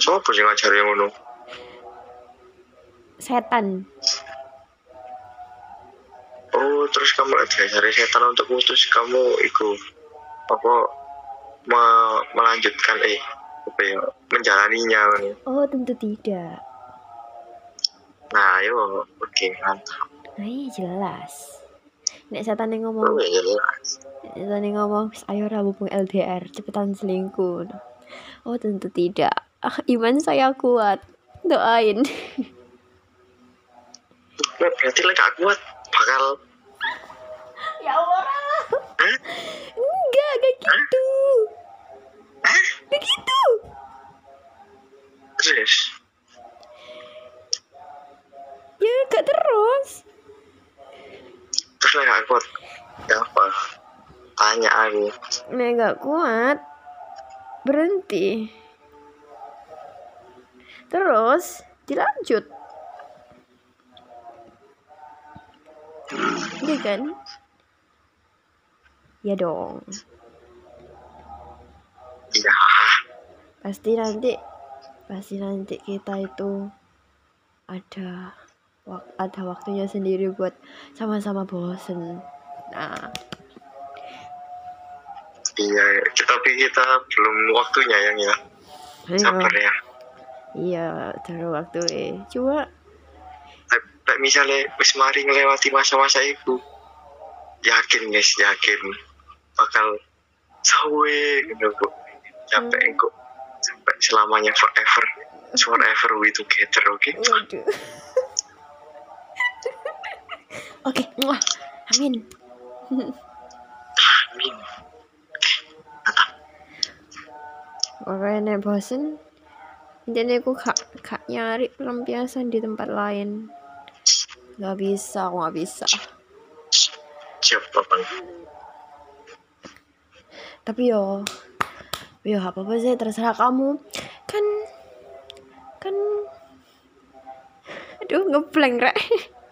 Sopo sing ngajari ngono? setan Oh, terus kamu lagi diajari setan untuk putus kamu iku apa me- melanjutkan eh apa ya menjalaninya ngono. oh tentu tidak nah yo oke mantap nah iya jelas nek setan oh, yang ngomong ya, jelas nek setan yang ngomong "Wis, ayo ra mumpung LDR cepetan selingkuh oh tentu tidak ah, iman saya kuat doain Nah, berarti lek gak kuat bakal ya Allah Hah? enggak kayak gitu Hah? begitu terus ya gak terus terus lek gak kuat ya apa tanya aku nek gak kuat berhenti terus dilanjut Iya kan? Ya dong. iya pasti nanti pasti nanti kita itu ada wak- ada waktunya sendiri buat sama-sama bosen nah iya kita tapi kita belum waktunya yang ya sabar iya, ya iya terus waktu eh coba Lek- lek misalnya wis mari ngelewati masa-masa itu yakin guys yakin bakal sawe gitu bu sampai Hmm. engko sampai selamanya forever forever we together oke waduh oke muah. amin amin Pokoknya nek bosen Intinya aku gak, gak nyari pelampiasan di tempat lain Gak bisa, aku gak bisa siap bapak tapi yo yo apa apa sih terserah kamu kan kan aduh ngeblank rek